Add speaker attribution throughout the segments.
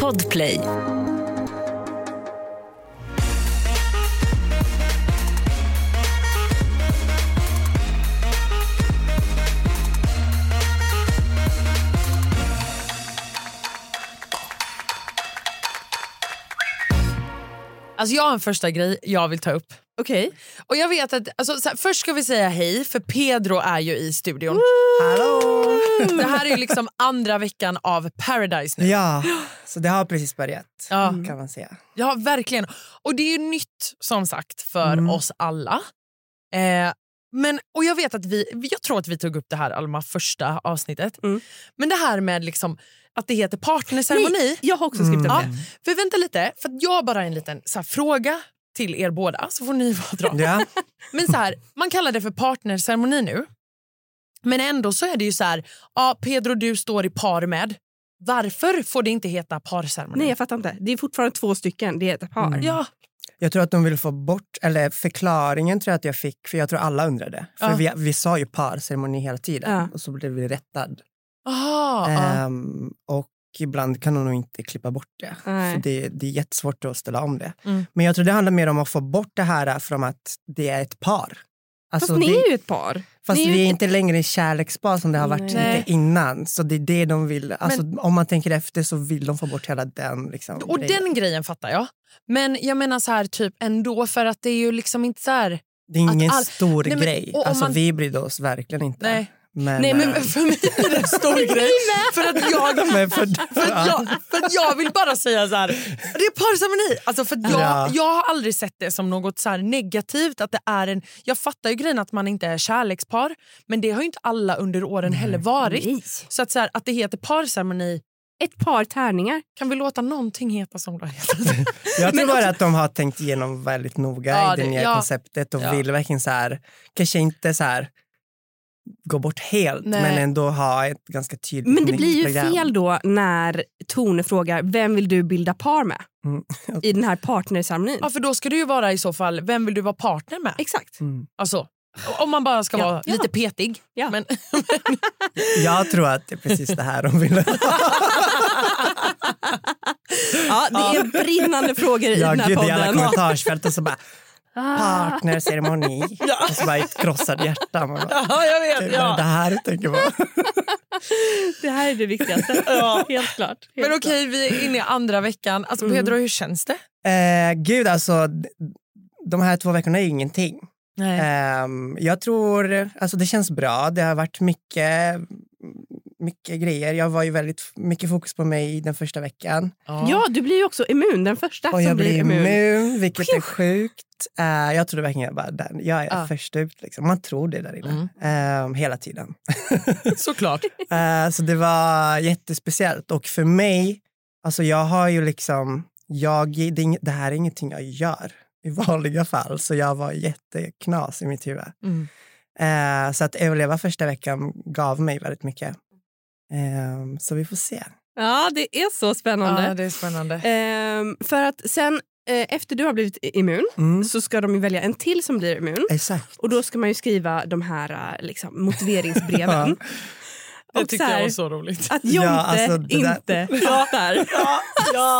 Speaker 1: Podplay.
Speaker 2: Alltså jag har en första grej jag vill ta upp.
Speaker 3: Okej.
Speaker 2: Och jag vet att, alltså, så här, först ska vi säga hej, för Pedro är ju i studion.
Speaker 4: Hallå!
Speaker 2: Det här är ju liksom andra veckan av Paradise nu.
Speaker 4: Ja, så det har precis börjat
Speaker 2: Ja.
Speaker 4: kan man säga.
Speaker 2: Ja, verkligen. Och det är ju nytt som sagt för
Speaker 4: Mm.
Speaker 2: oss alla. Eh, men, och jag vet att vi, jag tror att vi tog upp det här Alma första avsnittet.
Speaker 3: Mm.
Speaker 2: Men det här med liksom att det heter partnerceremoni. Mm.
Speaker 3: Jag har också skrivit upp
Speaker 2: Ja,
Speaker 3: det.
Speaker 2: för vänta lite, för att jag har bara en liten så här, fråga till er båda så får ni vara dra.
Speaker 4: Ja.
Speaker 2: Men så här, man kallar det för partnerceremoni nu. Men ändå så är det ju så här, ja, Pedro du står i par med. Varför får det inte heta parceremoni?
Speaker 3: Nej, jag fattar inte. Det är fortfarande två stycken. Det är ett par.
Speaker 4: Mm.
Speaker 2: Ja,
Speaker 4: Jag tror att de vill få bort, eller förklaringen tror jag att jag fick, för jag tror alla undrade. För
Speaker 2: Ja.
Speaker 4: vi, vi sa ju parceremoni hela tiden
Speaker 3: Ja.
Speaker 4: och så blev vi rättad.
Speaker 2: Aha,
Speaker 3: Eh,
Speaker 2: ja.
Speaker 4: Ehm, och ibland kan de nog inte klippa bort det.
Speaker 3: Nej.
Speaker 4: För det, det är jättesvårt att ställa om det.
Speaker 2: Mm.
Speaker 4: Men jag tror det handlar mer om att få bort det här eh, från att det är ett par.
Speaker 3: Fast
Speaker 4: Alltså,
Speaker 3: ni
Speaker 4: det,
Speaker 3: är ju ett par.
Speaker 4: Fast
Speaker 3: Ni är ju
Speaker 4: vi är
Speaker 3: ett-
Speaker 4: inte längre i kärlekspar som det har varit
Speaker 3: Nej.
Speaker 4: lite innan. Så det är det de vill. Alltså, Om man tänker efter så vill de få bort hela den. Liksom,
Speaker 2: Och
Speaker 4: grejen.
Speaker 2: den grejen fattar jag. Men jag menar så här typ ändå för att det är ju liksom inte så här...
Speaker 4: det är ingen
Speaker 2: att all-
Speaker 4: stor
Speaker 2: Nej, men-
Speaker 4: grej.
Speaker 2: och om
Speaker 4: Alltså,
Speaker 2: man-
Speaker 4: Vi brydde oss verkligen inte.
Speaker 2: Nej.
Speaker 4: Men,
Speaker 2: Nej men
Speaker 4: eh,
Speaker 2: för mig är det en stor grej. För att jag,
Speaker 4: de är för,
Speaker 2: för att jag, för att jag vill bara säga så här, det är parceremoni. Alltså för att jag,
Speaker 4: Ja.
Speaker 2: jag har aldrig sett det som något så här negativt. Att det är en, jag fattar ju grejen att man inte är kärlekspar men det har ju inte alla under åren heller varit.
Speaker 3: Nej.
Speaker 2: Så att, så här, att det heter parceremoni,
Speaker 3: Ett par tärningar.
Speaker 2: kan vi låta någonting heta som det har hetat?
Speaker 4: Jag tror bara att de har tänkt igenom väldigt noga
Speaker 2: Ja,
Speaker 4: i det
Speaker 2: det-
Speaker 4: nya
Speaker 2: ja.
Speaker 4: konceptet och
Speaker 2: Ja.
Speaker 4: vill verkligen så här, kanske inte så här gå bort helt
Speaker 2: Nej.
Speaker 4: men ändå ha ett ganska tydligt
Speaker 3: Men det
Speaker 4: nytt
Speaker 3: blir ju
Speaker 4: program.
Speaker 3: fel då när Tone frågar vem vill du bilda par med
Speaker 4: Mm.
Speaker 3: i den här partnerceremonin.
Speaker 2: Ja, för då ska det ju vara i så fall, vem vill du vara partner med?
Speaker 3: Exakt.
Speaker 4: Mm.
Speaker 2: Alltså, om man bara ska
Speaker 3: Ja.
Speaker 2: vara
Speaker 3: Ja.
Speaker 2: lite petig.
Speaker 3: Ja.
Speaker 2: Men,
Speaker 4: Jag tror att det är precis det här de vill ha.
Speaker 3: Ja, det är brinnande frågor i
Speaker 4: Ja,
Speaker 3: den här
Speaker 4: gud, I alla
Speaker 3: podden. Ah.
Speaker 4: kommentarsfält och så bara partnerceremoni. Och så bara ett krossat hjärta. Man bara,
Speaker 2: ja, jag
Speaker 4: "Okej,
Speaker 2: vet.
Speaker 4: vad är det här du tänker på?
Speaker 3: Det här är det viktigaste. Helt klart. Helt
Speaker 2: Men okej, vi är inne i andra veckan. Alltså,
Speaker 3: Mm.
Speaker 2: Pedro, hur känns det?
Speaker 4: Eh, gud, alltså de här två veckorna är ingenting.
Speaker 2: Nej.
Speaker 4: Ehm, jag tror, alltså det känns bra. Det har varit mycket, mycket grejer. Jag var ju väldigt mycket fokus på mig i den första veckan.
Speaker 3: klart. Ja, du blir ju också immun. Den första
Speaker 4: Och
Speaker 3: som
Speaker 4: jag
Speaker 3: blir
Speaker 4: blev
Speaker 3: immun.
Speaker 4: immun, vilket är sjukt. Eh, jag trodde verkligen jag bara, den, jag är
Speaker 2: Ja.
Speaker 4: först ut. Liksom. Man tror det där inne.
Speaker 2: Mm.
Speaker 4: Ehm, hela tiden.
Speaker 2: såklart.
Speaker 4: Eh, så det var jättespeciellt. Och för mig, alltså jag har ju liksom, jag, det, är ing- det här är ingenting jag gör i vanliga fall. Så jag var jätteknas i mitt huvud.
Speaker 2: Mm.
Speaker 4: Eh, så att överleva första veckan gav mig väldigt mycket. Eh, så vi får se.
Speaker 3: Ja, det är så spännande.
Speaker 2: Ja, det är spännande.
Speaker 3: Ehm, för att sen eh, efter du har blivit i- immun så ska de ju välja en till som blir immun.
Speaker 4: Mm. Exakt.
Speaker 3: Och då ska man ju skriva de här eh, liksom, motiveringsbreven.
Speaker 4: Ja.
Speaker 2: Det
Speaker 3: Och
Speaker 2: tyckte
Speaker 3: så här-
Speaker 2: jag var så roligt.
Speaker 3: Att
Speaker 4: Ja,
Speaker 3: Jonte
Speaker 4: alltså, det där-
Speaker 3: inte pratar.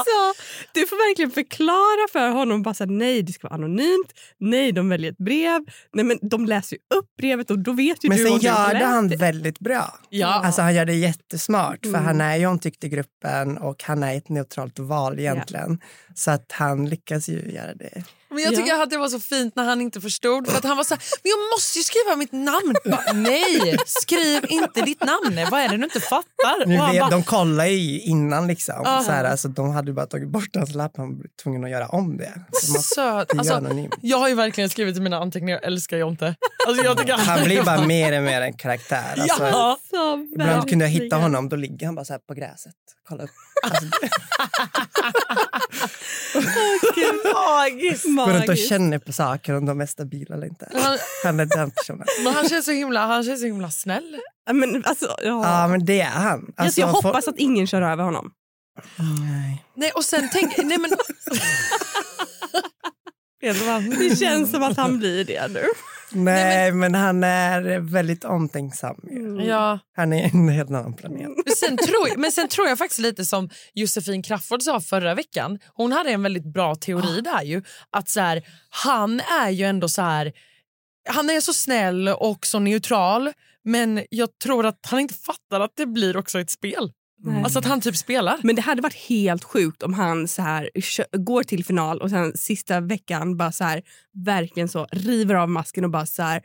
Speaker 3: Så, du får verkligen förklara för honom. Bara så här, nej, det ska vara anonymt. Nej, de väljer ett brev. Nej, men de läser ju upp brevet och då vet ju
Speaker 4: Men
Speaker 3: du
Speaker 4: sen
Speaker 3: om du har
Speaker 4: gjorde
Speaker 3: läst
Speaker 4: han
Speaker 3: det.
Speaker 4: väldigt bra.
Speaker 2: Ja.
Speaker 4: Alltså han gör det jättesmart
Speaker 3: Mm.
Speaker 4: för han är ju omtyckt i gruppen och han är ett neutralt val egentligen. Så att han lyckas ju göra det.
Speaker 2: Men jag tycker att det var så fint när han inte förstod. För att han var så här, men jag måste ju skriva mitt namn. Bara, Nej, skriv inte ditt namn. Vad är det du inte fattar?
Speaker 4: Nu
Speaker 2: Och han
Speaker 4: vet,
Speaker 2: bara,
Speaker 4: de kollade ju innan liksom.
Speaker 2: Ja.
Speaker 4: Så här, alltså, de hade ju bara tagit bort hans lapp, han blev tvungen att göra om det. Så man
Speaker 2: Söt.
Speaker 4: får göra
Speaker 2: Alltså,
Speaker 4: anonymt.
Speaker 2: jag har ju verkligen skrivit i mina anteckningar, jag älskar Jonte. Alltså, jag tycker
Speaker 4: Han blir bara mer och mer en karaktär. Alltså,
Speaker 2: Ja.
Speaker 3: Så
Speaker 4: Ibland kunde jag hitta
Speaker 3: verkligen.
Speaker 4: honom, då ligger han bara så här på gräset. Kolla upp. Alltså,
Speaker 2: Magiskt.
Speaker 4: går runt och
Speaker 3: Magiskt.
Speaker 4: känner på saker om de är stabila eller inte.
Speaker 2: Han,
Speaker 4: Han är den personen.
Speaker 2: men han, känns så himla, han känns så himla snäll.
Speaker 3: Ja, Men, alltså, ja.
Speaker 4: Ja, men det är han.
Speaker 3: alltså, jag
Speaker 4: folk-
Speaker 3: hoppas att ingen kör över honom.
Speaker 4: Nej.
Speaker 2: Nej, och sen tänk... Nej, men,
Speaker 3: Det känns som att han blir det nu.
Speaker 4: Nej, men... han är väldigt omtänksam. ju.
Speaker 2: Ja.
Speaker 4: Han är en helt annan planet.
Speaker 2: Men Sen tror, men sen tror jag faktiskt lite som Josefin Crafoord sa förra veckan. Hon hade en väldigt bra teori där ju. Att så här, han är ju ändå så här... Han är så snäll och så neutral men jag tror att han inte fattar att det blir också ett spel.
Speaker 3: Nej.
Speaker 4: Mm.
Speaker 2: Alltså att han typ spelar.
Speaker 3: Men det hade varit helt sjukt om han så här, kö- går till final och sen sista veckan bara så här, verkligen så river av masken och bara så här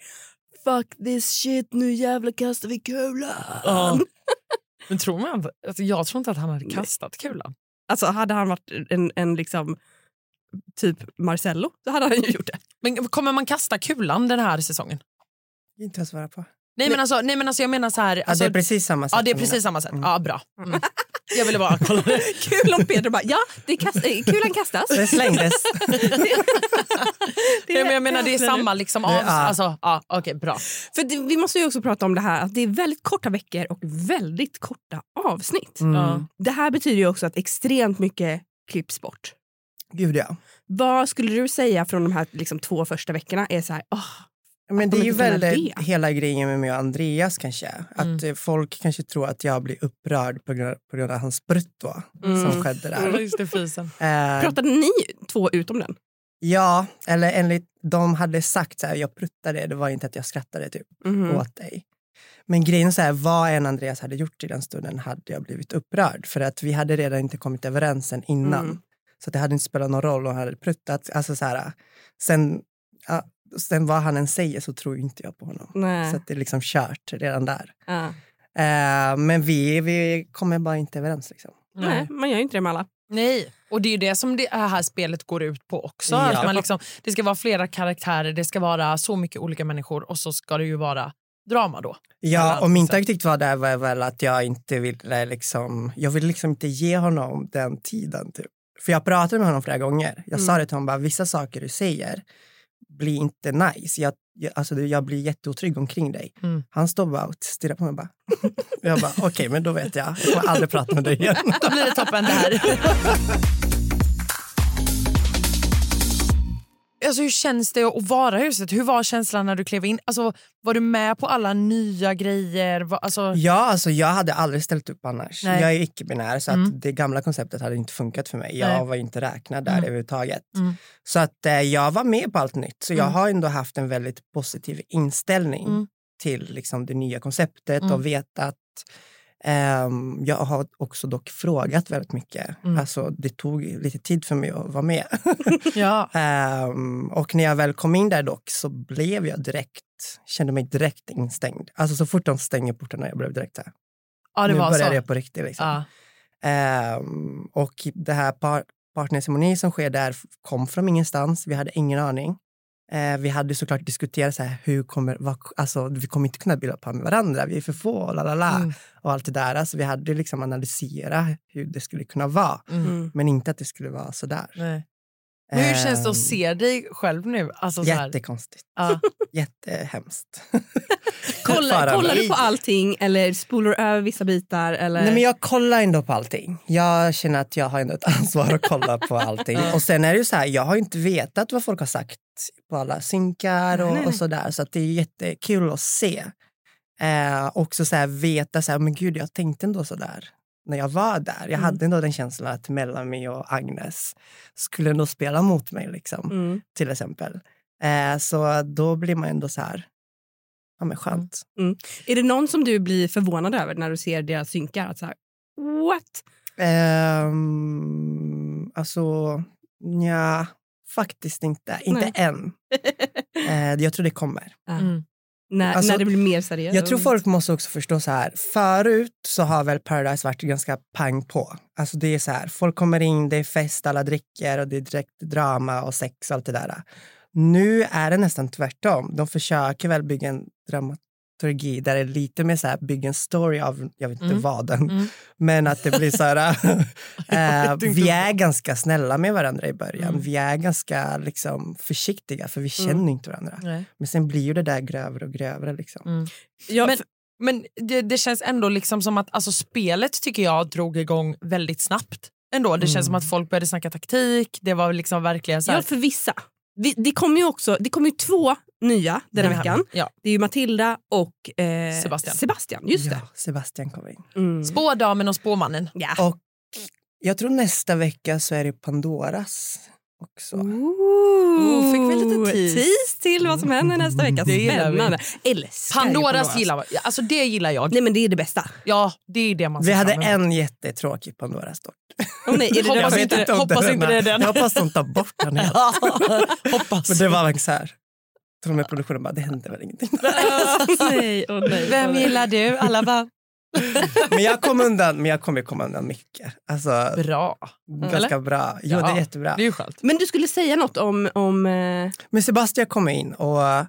Speaker 3: Fuck this shit, nu jävla kastar vi kulan.
Speaker 2: Ja. Men tror man att- alltså jag tror inte att han hade kastat kulan.
Speaker 3: Alltså hade han varit en, en liksom typ Marcello så hade han ju gjort det.
Speaker 2: Men kommer man kasta kulan den här säsongen?
Speaker 4: Inte att svara på.
Speaker 2: Nej men alltså, nej, men alltså jag menar så här...
Speaker 4: Ja,
Speaker 2: Alltså,
Speaker 4: det är precis samma sak.
Speaker 2: ja, det är
Speaker 4: som
Speaker 2: precis samma sätt.
Speaker 4: Mm.
Speaker 2: Ja, bra. Mm. Jag ville bara kolla det.
Speaker 3: Kul om Pedro bara, ja, det kast, eh, kulan kastas.
Speaker 4: det. Det slängdes.
Speaker 2: Nej, men jag menar det är samma liksom av...
Speaker 4: Ja.
Speaker 2: Alltså, ja, okej, bra.
Speaker 3: För det, vi måste ju också prata om det här att det är väldigt korta veckor och väldigt korta avsnitt.
Speaker 4: Mm.
Speaker 2: Ja.
Speaker 3: Det här betyder ju också att extremt mycket klipps bort.
Speaker 4: Gud, ja.
Speaker 3: Vad skulle du säga från de här liksom, två första veckorna? Är så här, "Ah,
Speaker 4: Men
Speaker 3: Att de
Speaker 4: det är ju
Speaker 3: inte kunde
Speaker 4: väl
Speaker 3: det.
Speaker 4: hela grejen med mig och Andreas kanske. Att
Speaker 2: Mm.
Speaker 4: eh, folk kanske tror att jag blir upprörd på grund, på grund av hans brutto
Speaker 3: Mm.
Speaker 4: som skedde där.
Speaker 2: Just det, fisen.
Speaker 4: Eh,
Speaker 3: Pratade ni två ut om den?
Speaker 4: ja, eller enligt de hade sagt så här, jag pruttade, det var inte att jag skrattade typ
Speaker 3: Mm.
Speaker 4: åt dig. Men grejen är så här, vad än Andreas hade gjort i den stunden hade jag blivit upprörd. För att vi hade redan inte kommit överens sen innan.
Speaker 3: Mm.
Speaker 4: Så det hade inte spelat någon roll om han hade pruttat. Alltså så här, sen, ja, sen vad han än säger så tror ju inte jag på honom.
Speaker 3: Nej.
Speaker 4: Så att det är liksom kört redan där.
Speaker 3: Ja.
Speaker 4: Eh, men vi, vi kommer bara inte överens. Liksom.
Speaker 3: Nej, man gör ju inte det med alla.
Speaker 2: Nej, och det är ju det som det här spelet går ut på också.
Speaker 4: Ja.
Speaker 2: Att man liksom, det ska vara flera karaktärer, det ska vara så mycket olika människor och så ska det ju vara drama då.
Speaker 4: Ja,
Speaker 2: Alla
Speaker 4: och min
Speaker 2: sätt.
Speaker 4: taktik var där var väl att jag inte ville liksom, jag ville liksom inte ge honom den tiden. Typ. För jag pratade med honom flera gånger. Jag sa
Speaker 3: Mm.
Speaker 4: det till honom, bara, vissa saker du säger blir inte nice. Jag, jag, alltså, du- jag blir jätteotrygg omkring dig.
Speaker 2: Mm.
Speaker 4: Han står bara och stirrar på mig. Bara. jag bara, okej, men då vet jag. Jag kommer aldrig prata med dig igen.
Speaker 2: Då blir det toppen det här. Alltså, hur känns det att vara i huset? Hur var känslan när du klev in? Alltså, var du med på alla nya grejer? Var, alltså,
Speaker 4: Ja, alltså jag hade aldrig ställt upp annars.
Speaker 2: Nej.
Speaker 4: Jag är icke-binär så att
Speaker 2: Mm.
Speaker 4: det gamla konceptet hade inte funkat för mig. Jag
Speaker 2: Nej.
Speaker 4: var inte räknad där
Speaker 2: Mm.
Speaker 4: överhuvudtaget.
Speaker 2: Mm.
Speaker 4: Så att eh, jag var med på allt nytt. Så jag
Speaker 2: Mm.
Speaker 4: har ändå haft en väldigt positiv inställning
Speaker 2: Mm.
Speaker 4: till liksom, det nya konceptet
Speaker 2: Mm.
Speaker 4: och vetat ehm, jag har också dock frågat väldigt mycket.
Speaker 2: Mm.
Speaker 4: Alltså, det tog lite tid för mig att vara med.
Speaker 2: ja.
Speaker 4: Ehm, och när jag väl kom in där dock så blev jag direkt, kände mig direkt instängd. Alltså så fort de stänger portarna, jag blev direkt så här,
Speaker 2: ja, det
Speaker 4: nu
Speaker 2: var så.
Speaker 4: börjar det på riktigt. Liksom.
Speaker 2: Ja.
Speaker 4: Ehm, och det här par- partnerceremoni som sker där f- kom från ingenstans. Vi hade ingen aning. Eh, vi hade såklart diskuterat så här, hur kommer, vad, alltså, vi kommer inte kunna bilda par med varandra. Vi är för få, la la la.
Speaker 2: Mm.
Speaker 4: Och allt det där. Alltså, vi hade liksom analyserat hur det skulle kunna vara.
Speaker 2: Mm.
Speaker 4: Men inte att det skulle vara så där. Ehm,
Speaker 2: Nej. Ehm. Men hur känns det att se dig själv nu? Alltså, så här.
Speaker 4: Jättekonstigt.
Speaker 2: Ja.
Speaker 4: Jättehemskt.
Speaker 3: Kolla,
Speaker 4: Fortfarande.
Speaker 3: kollar du på allting eller spolar du över vissa bitar? Eller?
Speaker 4: Nej, men jag kollar ändå på allting. Jag känner att jag har ändå ett ansvar att kolla på allting. Och sen är det ju så här, jag har ju inte vetat vad folk har sagt på alla synkar
Speaker 3: Nej, nej,
Speaker 4: och, och
Speaker 3: nej.
Speaker 4: så där. Så att det är jättekul att se. Eh, också så här veta så här, men gud, jag tänkte ändå så där när jag var där. Jag
Speaker 3: Mm.
Speaker 4: hade ändå den känslan att Melanie och Agnes skulle ändå spela mot mig, liksom,
Speaker 3: Mm.
Speaker 4: till exempel. Eh, så då blir man ändå så här, ja men skönt.
Speaker 3: Är det någon som du blir förvånad över när du ser deras synkar? Att så här, what?
Speaker 4: Um, alltså, ja, faktiskt inte. Inte
Speaker 3: Nej.
Speaker 4: än. Eh, jag tror det kommer.
Speaker 2: Mm.
Speaker 3: När,
Speaker 4: Alltså,
Speaker 3: när det blir mer seriöst?
Speaker 4: Jag tror folk måste också förstå så här. Förut så har väl Paradise varit ganska pang på. Alltså det är så här, folk kommer in, det är fest, alla dricker och det är direkt drama och sex och allt det där. Nu är det nästan tvärtom. De försöker väl bygga en dramaturgi där det är lite mer så här, bygga en story av, jag vet inte
Speaker 2: Mm.
Speaker 4: vad den
Speaker 2: Mm.
Speaker 4: men att det blir så här... eh,
Speaker 2: vet inte.
Speaker 4: vi är ganska snälla med varandra i början.
Speaker 2: Mm.
Speaker 4: Vi är ganska liksom, försiktiga, för vi känner inte varandra.
Speaker 2: Nej.
Speaker 4: Men sen blir ju det där grövre och grövre. Liksom.
Speaker 3: Ja,
Speaker 2: Men- Men det, det känns ändå liksom som att alltså, spelet tycker jag drog igång väldigt snabbt. Ändå. Det känns
Speaker 4: Mm.
Speaker 2: som att folk började snacka taktik. Det var liksom verkligen så här,
Speaker 3: Ja, för vissa. Vi, det kommer ju också det kommer ju två nya den här veckan.
Speaker 2: Ja.
Speaker 3: Det är ju Matilda och eh,
Speaker 2: Sebastian.
Speaker 3: Sebastian. Just
Speaker 4: ja, Sebastian kommer in.
Speaker 3: det. Mm.
Speaker 2: Spådamen och spåmannen.
Speaker 3: Ja.
Speaker 4: Och jag tror nästa vecka så är det Pandoras också.
Speaker 2: Mm,
Speaker 3: Ooh,
Speaker 2: fick vi en liten tease? Mm.
Speaker 3: tease till vad som händer nästa vecka.
Speaker 2: Det gillar vi.
Speaker 3: Spännande. Älskar ju
Speaker 2: Pandoras gillar jag. Ja, Alltså det gillar jag.
Speaker 3: Nej men det är det bästa.
Speaker 2: Ja, det är det man
Speaker 4: Vi
Speaker 2: ser
Speaker 4: hade
Speaker 2: fram emot.
Speaker 4: en jättetråkig Pandoras dock.
Speaker 3: Oh, nej, är det
Speaker 2: Hoppas
Speaker 3: den som
Speaker 2: inte-
Speaker 4: om
Speaker 2: hoppas
Speaker 4: är
Speaker 2: inte det är den.
Speaker 4: Jag hoppas de tar bort den helt.
Speaker 2: Hoppas.
Speaker 4: Men det var verkligen så här. Till och med produktionen bara, det hände väl ingenting.
Speaker 3: nej, åh nej.
Speaker 2: Vem gillar du? Alla bara...
Speaker 4: Men jag kom undan, men jag kommer komma undan mycket. Alltså,
Speaker 2: Bra.
Speaker 4: ganska bra. Jo,
Speaker 2: Ja.
Speaker 4: det är jättebra.
Speaker 2: Det är ju skönt.
Speaker 3: Men du skulle säga något om... om eh,
Speaker 4: Men Sebastian kom in och eh,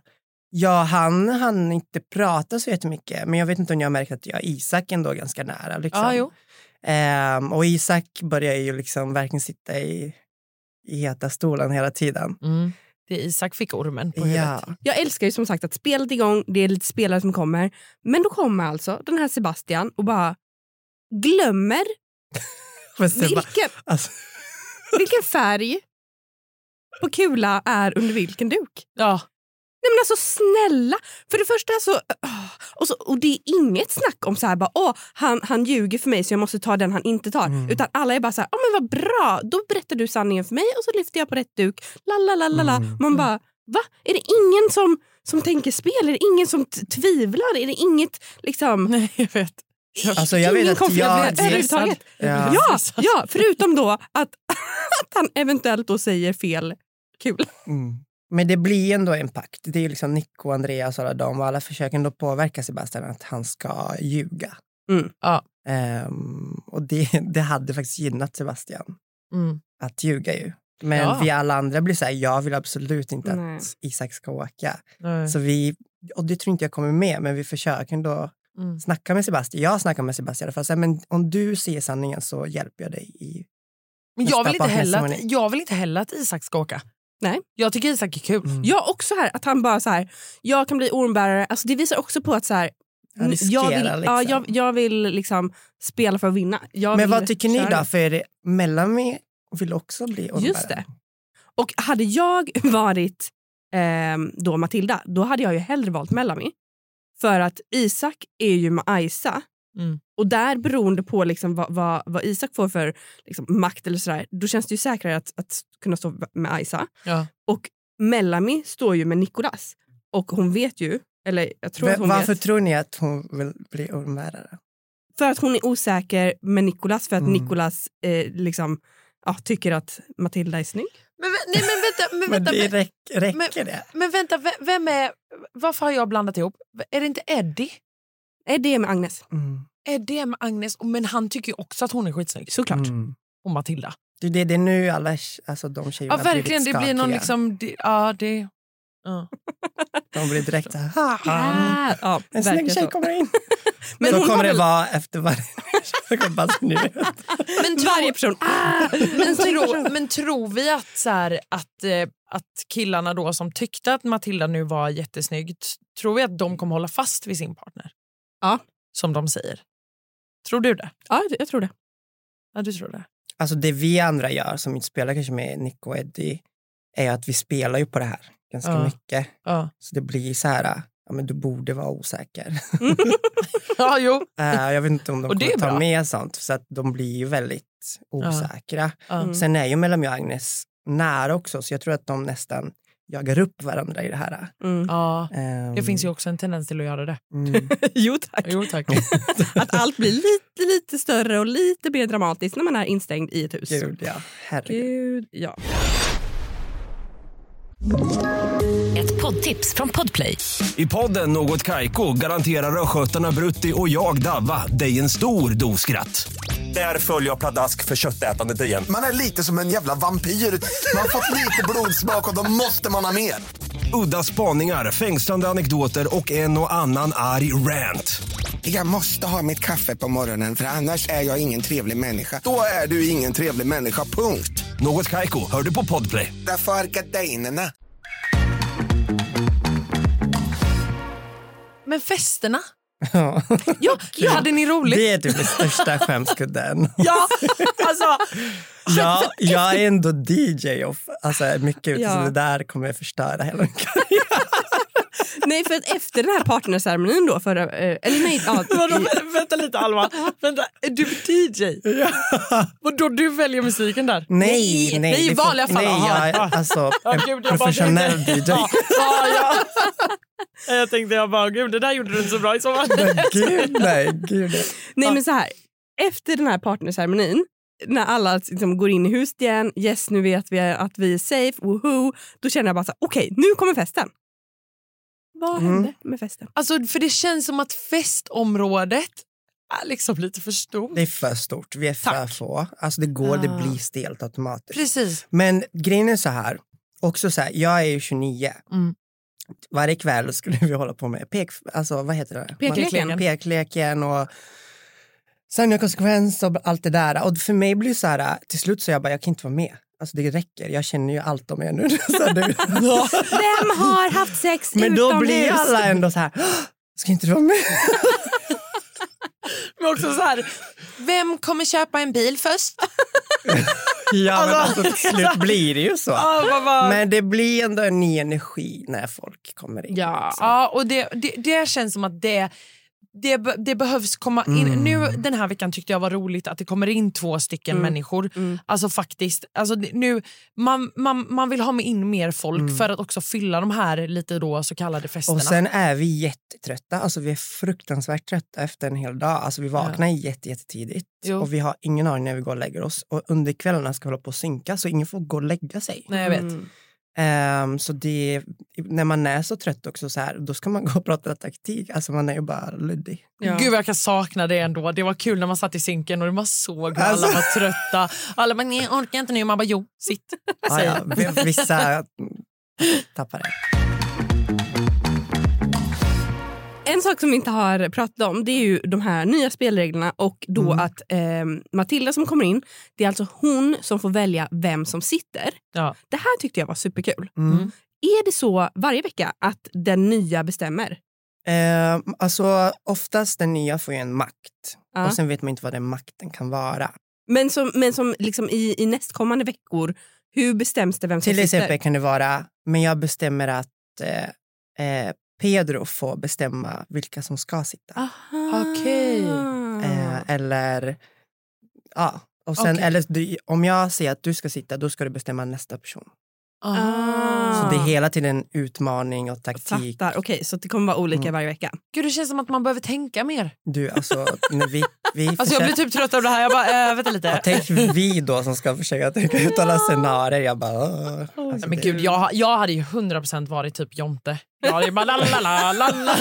Speaker 4: ja, han han inte prata så jättemycket. Men jag vet inte om jag har märkt att jag har Isak ändå ganska nära. Liksom.
Speaker 2: Ja, jo.
Speaker 4: Ehm, och Isak börjar ju liksom verkligen sitta i, i heta stolen hela tiden.
Speaker 2: Mm. Det är Isak fick ormen på huvudet.
Speaker 4: Ja.
Speaker 3: jag älskar ju som sagt att spelet är igång, det är lite spelare som kommer. Men då kommer alltså den här Sebastian och bara glömmer
Speaker 4: Men Seba,
Speaker 3: vilken,
Speaker 4: alltså,
Speaker 3: vilken färg på kula är under vilken duk.
Speaker 2: Ja.
Speaker 3: Nej men alltså snälla! För det första så... åh, Och, så, och det är inget snack om så här bara, åh, han, han ljuger för mig så jag måste ta den han inte tar.
Speaker 4: Mm.
Speaker 3: Utan alla är bara så här, åh men vad bra, då berättar du sanningen för mig och så lyfter jag på rätt duk. La la la la la.
Speaker 4: Mm.
Speaker 3: Man bara, va? Är det ingen som, som tänker spel? Är det ingen som t- tvivlar? Är det inget liksom...
Speaker 2: Nej, jag vet.
Speaker 4: alltså, jag
Speaker 3: ingen
Speaker 4: vet att
Speaker 3: konflikt
Speaker 4: jag...
Speaker 3: över- överhuvudtaget?
Speaker 4: Ja.
Speaker 3: Ja, ja, förutom då att, att han eventuellt då säger fel kul.
Speaker 4: Mm. Men det blir ändå en pakt. Det är ju liksom Nico, Andreas och alla dem och alla försöker ändå påverka Sebastian att han ska ljuga.
Speaker 3: Mm.
Speaker 2: Ja.
Speaker 4: Ehm, och det, det hade faktiskt gynnat Sebastian
Speaker 2: Mm.
Speaker 4: att ljuga ju. Men
Speaker 2: Ja.
Speaker 4: vi alla andra blir så här, jag vill absolut inte
Speaker 3: Nej.
Speaker 4: att Isak ska åka.
Speaker 2: Nej.
Speaker 4: Så vi, och det tror inte jag kommer med, men vi försöker ändå
Speaker 2: Mm.
Speaker 4: snacka med Sebastian. Jag snackar med Sebastian i alla fall, så här, men om du ser sanningen så hjälper jag dig. I,
Speaker 2: Men jag vill,
Speaker 4: Nästa
Speaker 2: inte heller att,
Speaker 4: partner som
Speaker 2: jag vill inte heller att Isak ska åka.
Speaker 3: Nej.
Speaker 2: Jag tycker Isak är kul.
Speaker 4: Mm.
Speaker 3: Jag också här, att han bara så här, jag kan bli ormbärare. Alltså det visar också på att så här,
Speaker 4: Han
Speaker 3: Nu-
Speaker 4: riskerar,
Speaker 3: jag vill, ja,
Speaker 4: liksom.
Speaker 3: jag, jag vill liksom spela för att vinna. Jag
Speaker 4: men
Speaker 3: vill
Speaker 4: vad tycker ni
Speaker 3: köra.
Speaker 4: då? För Mellami vill också bli ormbärare.
Speaker 3: Just det. Och hade jag varit ehm, då Matilda, då hade jag ju hellre valt Mellamy. För att Isak är ju med Aisa.
Speaker 2: Mm.
Speaker 3: Och där beroende på liksom vad, vad, vad Isak får för liksom, makt eller sådär, då känns det ju säkrare att, att kunna stå med Aisa.
Speaker 2: Ja.
Speaker 3: Och Mellamy står ju med Nicolas. Och hon vet ju, eller jag tror
Speaker 4: Va-
Speaker 3: att hon
Speaker 4: varför
Speaker 3: vet.
Speaker 4: tror ni att hon vill bli ormbärare?
Speaker 3: För att hon är osäker med Nicolas för att
Speaker 4: Mm.
Speaker 3: Nicolas eh, liksom, ja, tycker att Matilda är snygg.
Speaker 2: Men, vä- nej, men vänta, men
Speaker 4: Men
Speaker 2: vänta,
Speaker 4: det
Speaker 2: men,
Speaker 4: räck, räcker
Speaker 2: men-
Speaker 4: det?
Speaker 2: men vänta ve- vem är, varför har jag blandat ihop? V- Är det inte Eddie?
Speaker 3: Är det med Agnes?
Speaker 4: Mm.
Speaker 2: Är det med Agnes? Men han tycker ju också att hon är skitsnygg.
Speaker 3: Såklart.
Speaker 4: Mm.
Speaker 2: Och Matilda.
Speaker 4: Det, det, det är nu alla alltså, de tjejerna
Speaker 2: Ja, verkligen.
Speaker 4: blir
Speaker 2: Det
Speaker 4: lite
Speaker 2: blir någon
Speaker 4: skakiga.
Speaker 2: liksom... det- Ja, det... Ja.
Speaker 4: De blir direkt så här, "Ha, ha,
Speaker 3: Ah, liksom- ja,
Speaker 4: en
Speaker 3: verkligen
Speaker 4: snygg tjej
Speaker 3: så.
Speaker 4: kommer in. Men
Speaker 3: Men
Speaker 4: så
Speaker 3: hon har
Speaker 4: kommer det
Speaker 3: väl-
Speaker 4: vara efter varje... Så kommer bara, så ni vet.
Speaker 2: Men, tror-
Speaker 3: Varje person. Ah!
Speaker 2: men, tro, men tror vi att, så här, att, eh, att killarna då som tyckte att Matilda nu var jättesnygg, t- tror vi att de kommer hålla fast vid sin partner?
Speaker 3: Ja.
Speaker 2: Som de säger. Tror du det?
Speaker 3: Ja, jag tror det.
Speaker 2: Ja, du tror det.
Speaker 4: Alltså det vi andra gör som inte spelar kanske med Nico och Eddie är att vi spelar ju på det här ganska
Speaker 2: Ja.
Speaker 4: mycket.
Speaker 2: Ja,
Speaker 4: Så det blir så här, ja, men du borde vara osäker.
Speaker 2: ja jo.
Speaker 4: Eh, jag vet inte om de
Speaker 2: Och det
Speaker 4: kommer
Speaker 2: är
Speaker 4: ta
Speaker 2: bra.
Speaker 4: med sånt, så att de blir ju väldigt osäkra.
Speaker 2: Ja.
Speaker 3: Mm.
Speaker 4: Sen är ju Mellamy och Agnes nära också, så jag tror att de nästan jagar upp varandra i det här.
Speaker 3: Mm.
Speaker 2: Ja.
Speaker 4: Ehm,
Speaker 2: Det finns ju också en tendens till att göra det.
Speaker 4: mm.
Speaker 3: Jo tack.
Speaker 2: Jo, tack.
Speaker 3: Att allt blir lite, lite större och lite mer dramatiskt när man är instängd i ett hus.
Speaker 4: Gud, ja. Herregud.
Speaker 3: Gud, ja.
Speaker 1: Ett poddtips från Podplay.
Speaker 5: I podden Något Kaiko garanterar östgötarna Brutti och jag, Davva, dig en stor dos skratt. Där följer jag pladask för köttätandet igen.
Speaker 6: Man är lite som en jävla vampyr. Man har fått lite blodsmak och då måste man ha mer.
Speaker 5: Udda spaningar, fängslande anekdoter och en och annan arg rant.
Speaker 6: Jag måste ha mitt kaffe på morgonen för annars är jag ingen trevlig människa. Då är du ingen trevlig människa, punkt.
Speaker 5: Något Kaiko, hör du på Podplay.
Speaker 6: Därför är gardinerna.
Speaker 2: Men festerna?
Speaker 4: Ja.
Speaker 2: Ja, Hade ni roligt?
Speaker 4: Det är typ den största skämskudden.
Speaker 2: Ja, alltså,
Speaker 4: Ja, jag är ändå DJ och f- alltså, mycket ute,
Speaker 3: Ja.
Speaker 4: så det där kommer jag förstöra hela min karriär.
Speaker 3: Nej, för att efter den här partnerceremonin då, förra, eh, eller nej, ja,
Speaker 2: Vadå, vänta lite Alma. Vänta, är du DJ? Vadå du väljer musiken där?
Speaker 4: Nej, nej.
Speaker 2: nej, i
Speaker 4: det får-
Speaker 2: vanliga fall,
Speaker 4: Nej,
Speaker 2: aha.
Speaker 4: jag är alltså en
Speaker 2: gud, jag bara
Speaker 4: professionell DJ.
Speaker 2: Ja, ja. Jag tänkte jag bara, gud det där gjorde du inte så bra i sommar.
Speaker 4: Men gud nej, gud nej.
Speaker 3: Nej men så här. Efter den här partnerceremonin, när alla liksom går in i huset igen, yes nu vet vi att vi är safe, woohoo, då känner jag bara så här, okej nu kommer festen. Vad
Speaker 4: Mm.
Speaker 3: hände med festen?
Speaker 2: Alltså, för det känns som att festområdet är liksom lite för stort.
Speaker 4: Det är för stort, vi är för
Speaker 2: Tack.
Speaker 4: få. Alltså det går, det
Speaker 2: Ah.
Speaker 4: blir stelt automatiskt.
Speaker 2: Precis.
Speaker 4: Men grejen är så här, också så här, jag är ju 29.
Speaker 2: Mm.
Speaker 4: Varje kväll skulle vi hålla på med pek, alltså vad heter det?
Speaker 3: Pekleken.
Speaker 4: Man- Pekleken och sanning och konsekvens och allt det där. Och för mig blir det så här, till slut så jag bara, jag kan inte vara med. Alltså det räcker, jag känner ju allt om er nu. så det,
Speaker 3: Vem har haft sex
Speaker 4: men då blir
Speaker 3: utomhus?
Speaker 4: alla ändå så här, "Åh, ska inte du vara med?
Speaker 2: Men också så här, vem kommer köpa en bil först?
Speaker 4: Ja men alltså till slut blir det ju så.
Speaker 2: Ja, vad var-
Speaker 4: Men det blir ändå en ny energi när folk kommer in.
Speaker 3: Ja.
Speaker 2: Ja, och det, det, det känns som att det, det, be- det behövs komma in. Nu Den här veckan tyckte jag var roligt att det kommer in två stycken människor. Alltså faktiskt, alltså det- nu, man, man, man vill ha med in mer folk för att också fylla de här lite då så kallade festerna.
Speaker 4: Och sen är vi jättetrötta, alltså vi är fruktansvärt trötta efter en hel dag. Alltså vi vaknar jätte, jättetidigt
Speaker 2: Jo.
Speaker 4: och vi har ingen aning när vi går och lägger oss. Och under kvällarna ska vi hålla på och synka så ingen får gå och lägga sig. Mm.
Speaker 2: Nej, jag vet.
Speaker 4: Ehm, så det, när man är så trött också så här, då ska man gå och prata taktik. Alltså man är ju bara luddig.
Speaker 3: Ja.
Speaker 2: Gud vad jag kan sakna det ändå. Det var kul när man satt i synken och man såg hur
Speaker 4: Alltså.
Speaker 2: alla var trötta. Alla bara, nej orkar inte nu. Man bara, jo, sitt.
Speaker 4: Ah, Ja, ja,
Speaker 2: Alltså-
Speaker 4: v- vissa tappar det.
Speaker 3: En sak som vi inte har pratat om det är ju de här nya spelreglerna och då att eh, Matilda som kommer in, det är alltså hon som får välja vem som sitter.
Speaker 2: Ja.
Speaker 3: Det här tyckte jag var superkul.
Speaker 4: Mm.
Speaker 2: Mm.
Speaker 3: Är det så varje vecka att den nya bestämmer?
Speaker 4: Ehm, alltså oftast den nya får ju en makt
Speaker 3: Ja.
Speaker 4: och sen vet man inte vad den makten kan vara.
Speaker 3: Men som, men som liksom i, i nästkommande veckor, hur bestäms det vem som
Speaker 4: Till exempel
Speaker 3: sitter?
Speaker 4: kan det vara, men jag bestämmer att eh, eh, Pedro får bestämma vilka som ska sitta.
Speaker 3: Aha.
Speaker 2: Okej. Ah.
Speaker 4: Eh, eller, ja. Och sen,
Speaker 2: Okej.
Speaker 4: eller du, om jag säger att du ska sitta, då ska du bestämma nästa person. Så
Speaker 3: Ah.
Speaker 4: det är hela tiden en utmaning och taktik.
Speaker 3: Fattar. Okej, så det kommer vara olika
Speaker 4: Mm.
Speaker 3: varje vecka.
Speaker 2: Gud, det känns som att man behöver tänka mer.
Speaker 4: Du, alltså, när vi, vi
Speaker 2: Alltså, jag
Speaker 4: försöker-
Speaker 2: blir typ trött av det här. Jag bara, äh, vänta lite.
Speaker 4: Ja, tänk vi då som ska försöka tänka ut alla scenarier. Jag bara... åh. Alltså,
Speaker 2: Men
Speaker 4: det-
Speaker 2: gud, jag, jag hade ju 100% varit typ Jonte. Jag hade ju bara lalala, lalala.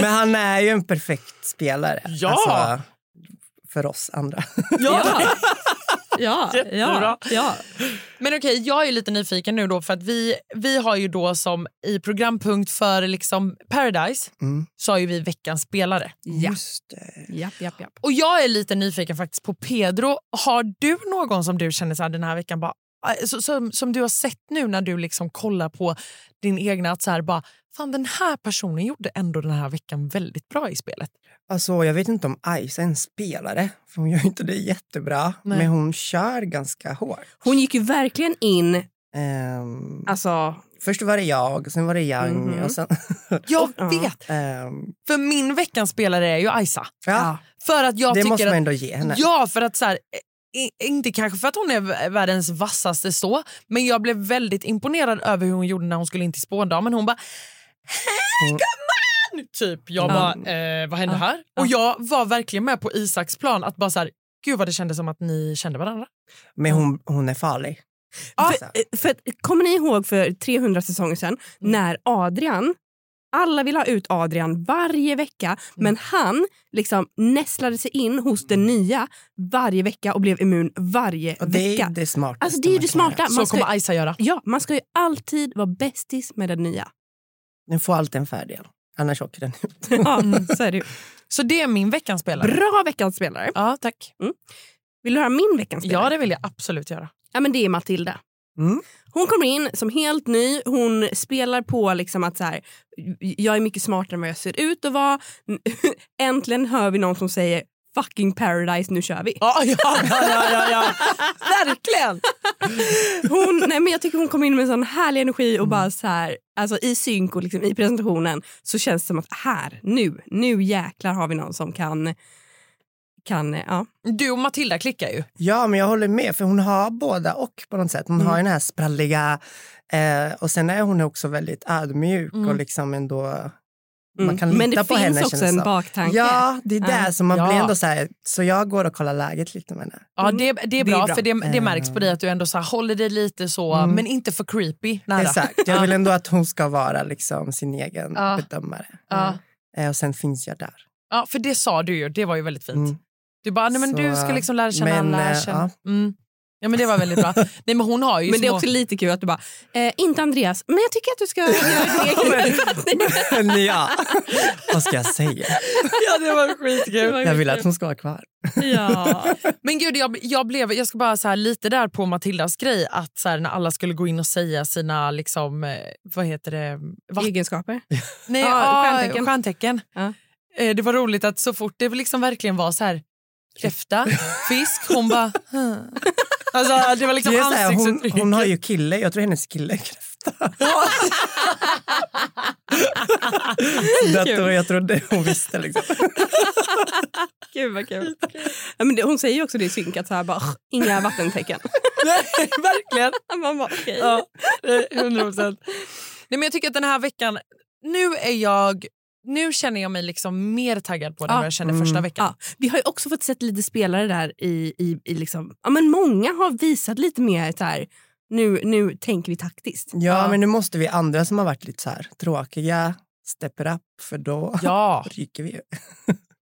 Speaker 4: Men han är ju en perfekt spelare.
Speaker 2: Ja.
Speaker 4: Alltså, för oss andra.
Speaker 3: Ja, ja,
Speaker 2: Jättebra.
Speaker 3: ja, ja.
Speaker 2: Men okej, jag är lite nyfiken nu då för att vi, vi har ju då som i programpunkt för liksom Paradise
Speaker 4: Mm.
Speaker 2: så har ju vi veckans spelare.
Speaker 3: ja.
Speaker 4: Just det.
Speaker 3: Japp, japp, japp.
Speaker 2: Och jag är lite nyfiken faktiskt på Pedro. Har du någon som du känner så här den här veckan bara, äh, så- som, som du har sett nu när du liksom kollar på din egna att så här bara, fan den här personen gjorde ändå den här veckan väldigt bra i spelet.
Speaker 4: Alltså, jag vet inte om Ice är en spelare, för hon gör inte det jättebra.
Speaker 2: Nej.
Speaker 4: Men hon kör ganska hårt.
Speaker 3: Hon gick ju verkligen in,
Speaker 4: Ehm,
Speaker 3: alltså...
Speaker 4: först var det jag, sen var det Young.
Speaker 3: Mhm.
Speaker 4: Och sen,
Speaker 2: Jag
Speaker 3: Ja.
Speaker 2: vet,
Speaker 4: ehm,
Speaker 2: för min veckans spelare är ju Isa.
Speaker 4: ja,
Speaker 2: För att jag
Speaker 4: det måste
Speaker 2: tycker
Speaker 4: man
Speaker 2: att,
Speaker 4: ändå ge henne.
Speaker 2: Ja, för att så här, eh, i- inte kanske för att hon är världens vassaste så, men jag blev väldigt imponerad över hur hon gjorde när hon skulle in till spåndamen. Hon bara “Hej
Speaker 4: Mm.
Speaker 2: gumman!” Typ. Jag
Speaker 4: Ja.
Speaker 2: bara eh, “Vad hände här?” Och jag var verkligen med på Isaks plan att bara så här, Gud vad det kändes som att ni kände varandra.
Speaker 4: Men hon, hon är farlig. Alltså,
Speaker 3: För, för, att- kommer ni ihåg för 300 säsonger sedan när Adrian alla vill ha ut Adrian varje vecka, men han liksom nästlade sig in hos den nya varje vecka och blev immun varje
Speaker 4: och det
Speaker 3: vecka.
Speaker 4: är det smartaste.
Speaker 3: alltså det är ju
Speaker 4: man
Speaker 3: det
Speaker 4: kan göra.
Speaker 3: smarta.
Speaker 2: Så
Speaker 3: Man ska,
Speaker 2: kommer Isa göra.
Speaker 3: ja, man ska ju alltid vara bästis med den nya.
Speaker 4: Den får alltid en fördel, annars åker den ut.
Speaker 3: Ja, mm, så är det ju.
Speaker 2: Så det är min veckans spelare.
Speaker 3: Bra veckans spelare.
Speaker 2: Ja, tack.
Speaker 3: Vill du höra min veckans spelare?
Speaker 2: Ja, det vill jag absolut göra.
Speaker 3: Ja, men det är Matilda.
Speaker 4: Mm.
Speaker 3: Hon kommer in som helt ny. Hon spelar på liksom att så här, jag är mycket smartare än vad jag ser ut att vara. Äntligen hör vi någon som säger fucking paradise, nu kör vi.
Speaker 2: Ja, ja, ja, ja, ja, ja. Verkligen!
Speaker 3: Hon, nej men jag tycker hon kom in med en sån härlig energi och bara så här, alltså i synk och liksom i presentationen så känns det som att här, nu, nu jäklar har vi någon som kan, kan, ja.
Speaker 2: Du och Matilda klickar ju.
Speaker 4: Ja, men jag håller med, för hon har båda och på något sätt. Hon
Speaker 3: Mm.
Speaker 4: har ju den här spralliga eh, och sen är hon också väldigt ödmjuk och liksom ändå man kan
Speaker 3: Mm. Men
Speaker 4: lita
Speaker 3: det
Speaker 4: på henne.
Speaker 3: finns också
Speaker 4: känns det
Speaker 3: en
Speaker 4: som.
Speaker 3: baktanke.
Speaker 4: Ja, det är det. Så man
Speaker 2: Ja.
Speaker 4: blir ändå så här, så jag går och kollar läget lite med henne.
Speaker 2: Ja, det, det är bra,
Speaker 3: bra.
Speaker 2: för det, det märks på dig att du ändå så här, håller dig lite så, men inte för creepy. Nära.
Speaker 4: Exakt, jag vill ändå att hon ska vara liksom sin egen
Speaker 2: Ja.
Speaker 4: bedömare.
Speaker 2: Ja.
Speaker 4: Eh, och sen finns jag där.
Speaker 2: Ja, för det sa du ju, det var ju väldigt fint.
Speaker 4: Mm.
Speaker 2: Du bara, nej men
Speaker 4: Så,
Speaker 2: du ska liksom lära känna
Speaker 4: men,
Speaker 2: alla.
Speaker 4: eh,
Speaker 2: Känna. Mm. Ja men det var väldigt bra. Nej men hon har ju
Speaker 3: Men det är
Speaker 2: små-
Speaker 3: också lite kul att du bara, eh, inte Andreas, men jag tycker att du ska göra din egen
Speaker 4: Men ja, vad ska jag säga?
Speaker 2: Ja det var skitkul.
Speaker 4: Jag vill att hon ska vara kvar.
Speaker 3: Ja.
Speaker 2: Men gud, jag, jag, blev, jag ska bara så här lite där på Matildas grej att så här, när alla skulle gå in och säga sina, liksom, eh, vad heter det, vatt-
Speaker 3: egenskaper.
Speaker 2: Nej,
Speaker 3: Ja,
Speaker 2: ja,
Speaker 3: stjärntecken.
Speaker 2: stjärntecken.
Speaker 3: Ja.
Speaker 2: Eh, Det var roligt att så fort det liksom verkligen var så här kräfta, fisk, hon bara... "Huh." Alltså, det var liksom
Speaker 4: Det är så här, hon,
Speaker 2: ansiktsuttrycket.
Speaker 4: hon har ju kille, jag tror hennes kille är kräfta. Jag tror, jag tror det hon visste. Liksom.
Speaker 3: Gud vad kul. Ja, men det, hon säger ju också det i synk att så här, bara, "Ugh, inga vattentecken.
Speaker 2: Nej, verkligen.
Speaker 3: Man bara, okej.
Speaker 2: Ja, det är 100 Eh, procent. Nej, men jag tycker att den här veckan, nu är jag... Nu känner jag mig liksom mer taggad på den än
Speaker 3: Ja.
Speaker 2: vad jag
Speaker 4: Ah,
Speaker 2: kände
Speaker 4: mm.
Speaker 2: första veckan.
Speaker 3: Ja, vi har ju också fått sett lite spelare där i, i, i liksom, ja men många har visat lite mer så här, nu, nu tänker vi taktiskt.
Speaker 4: Ja, men nu måste vi andra som har varit lite så här tråkiga step it up, för då
Speaker 2: Ja,
Speaker 4: ryker vi ju.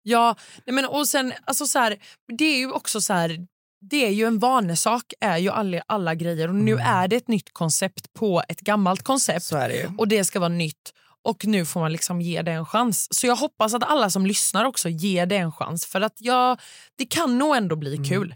Speaker 2: ja. Nej, men och sen, alltså så här, det är ju också så här, det är ju en vanesak är ju alla, alla grejer och
Speaker 4: Mm.
Speaker 2: nu är det ett nytt koncept på ett gammalt koncept
Speaker 4: Så är det ju.
Speaker 2: och det ska vara nytt och nu får man liksom ge det en chans. Så jag hoppas att alla som lyssnar också ger det en chans för att ja, det kan nog ändå bli
Speaker 4: Mm.
Speaker 2: kul.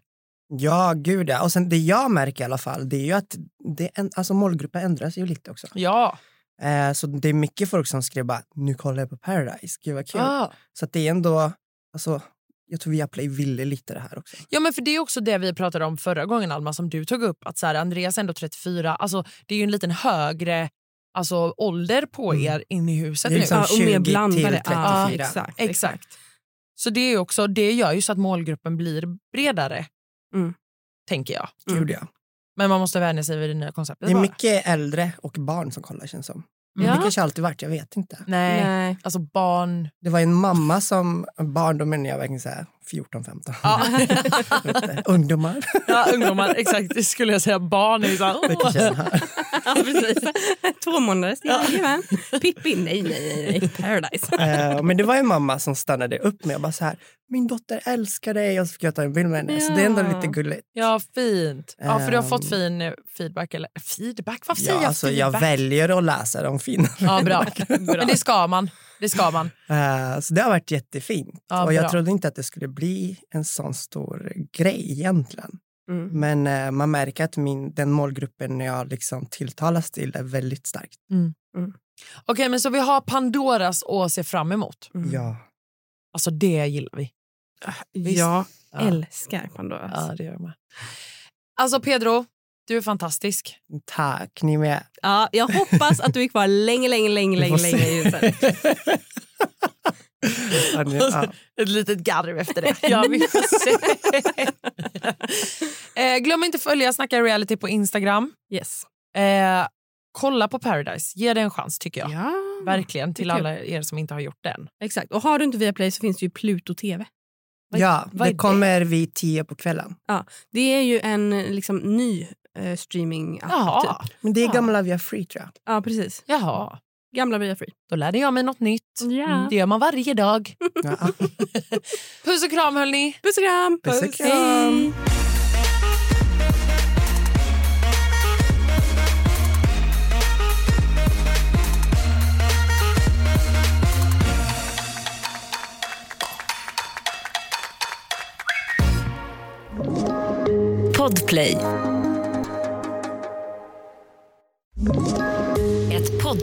Speaker 4: Ja, gud ja. Och sen det jag märker i alla fall, det är ju att det, en- alltså, målgruppen ändras ju lite också.
Speaker 2: Ja.
Speaker 4: Eh, så det är mycket folk som skriver bara, nu kollar jag på Paradise, gud vad kul.
Speaker 2: Ah.
Speaker 4: Så att det är ändå, alltså, jag tror Viaplay ville lite det här också.
Speaker 2: Ja, men för Det är också det vi pratade om förra gången, Alma, som du tog upp. Att så här, Andreas är ändå 34. Alltså, det är ju en liten högre alltså, ålder på
Speaker 4: Mm.
Speaker 2: er inne i huset
Speaker 4: Det är
Speaker 2: nu.
Speaker 4: liksom-
Speaker 3: Ja, och mer
Speaker 4: 20 till
Speaker 3: blandade. Ja,
Speaker 4: 34.
Speaker 3: exakt.
Speaker 2: Exakt. Så det, är ju också, det gör ju så att målgruppen blir bredare,
Speaker 3: Mm.
Speaker 2: tänker jag.
Speaker 3: Mm.
Speaker 4: Gud ja.
Speaker 2: Men man måste vänja sig vid det nya konceptet.
Speaker 4: Det är
Speaker 2: bara.
Speaker 4: mycket äldre och barn som kollar känns som. Men
Speaker 3: Ja.
Speaker 4: Det kanske alltid varit, jag vet inte.
Speaker 2: Nej.
Speaker 3: Nej.
Speaker 2: alltså barn...
Speaker 4: Det var en mamma som, barn då menar jag verkligen så här 14-15.
Speaker 2: Ja,
Speaker 4: Ungdomar.
Speaker 2: ja, ungdomar, exakt. Det skulle jag säga. Barn är ju så här,
Speaker 4: Mycket
Speaker 2: åh.
Speaker 4: tjejer här.
Speaker 3: Ja, precis. Två månader ja. Pippi, nej, nej, nej, nej. Paradise.
Speaker 4: Eh, men det var en mamma som stannade upp med och bara så här, min dotter älskar dig och så fick jag ta en bild med henne. Så det är ändå
Speaker 3: Ja.
Speaker 4: lite gulligt.
Speaker 2: Ja, fint. Ja, för du har fått
Speaker 4: Ehm.
Speaker 2: fin eh, feedback. Eller feedback? Varför säger
Speaker 4: Ja,
Speaker 2: jag
Speaker 4: alltså, jag
Speaker 2: feedback?
Speaker 4: väljer att läsa de fina.
Speaker 2: Ja, bra. Men det ska man. Det ska man.
Speaker 4: Eh, så det har varit jättefint.
Speaker 2: Ja,
Speaker 4: och jag
Speaker 2: bra.
Speaker 4: trodde inte att det skulle bli en sån stor grej egentligen.
Speaker 3: Mm.
Speaker 4: Men eh, man märker att min, den målgruppen jag liksom tilltalas till är väldigt starkt.
Speaker 2: Okej, men så vi har Pandoras att se fram emot.
Speaker 3: Mm.
Speaker 4: Ja.
Speaker 2: Alltså det gillar vi. Visst.
Speaker 3: Jag
Speaker 2: Ja.
Speaker 3: älskar Pandoras.
Speaker 2: Ja, det gör jag med. Alltså Pedro, du är fantastisk.
Speaker 4: Tack, ni är med.
Speaker 3: Ja, jag hoppas att du är kvar länge, länge, länge,
Speaker 4: Vi får
Speaker 3: länge,
Speaker 4: se.
Speaker 3: länge i huset.
Speaker 4: Ja, ni- ja.
Speaker 2: Ett litet garv efter det. Ja, vi får se. eh, glöm inte att följa Snacka reality på Instagram.
Speaker 3: Yes.
Speaker 2: Eh, kolla på Paradise. Ge det en chans tycker jag.
Speaker 3: Ja.
Speaker 2: Verkligen till
Speaker 3: det är kul.
Speaker 2: alla er som inte har gjort det än.
Speaker 3: Exakt. Och har du inte Viaplay så finns det ju Pluto TV.
Speaker 2: Vad-
Speaker 4: ja,
Speaker 2: vad är
Speaker 4: det kommer vid tio på kvällen.
Speaker 3: Det är ju en liksom, ny eh, streaming-app. Typ.
Speaker 2: Jaha.
Speaker 4: Men det är
Speaker 3: Ja.
Speaker 4: gamla via Free tror jag.
Speaker 3: Ja, precis.
Speaker 2: Jaha.
Speaker 3: Gamla Via Free.
Speaker 2: Då lärde jag mig något nytt.
Speaker 3: Ja.
Speaker 2: Det gör man varje dag.
Speaker 4: Ja.
Speaker 2: Puss och kram hörni.
Speaker 3: Puss och kram!
Speaker 4: Puss och kram.
Speaker 3: Hej.
Speaker 1: Podplay. Ett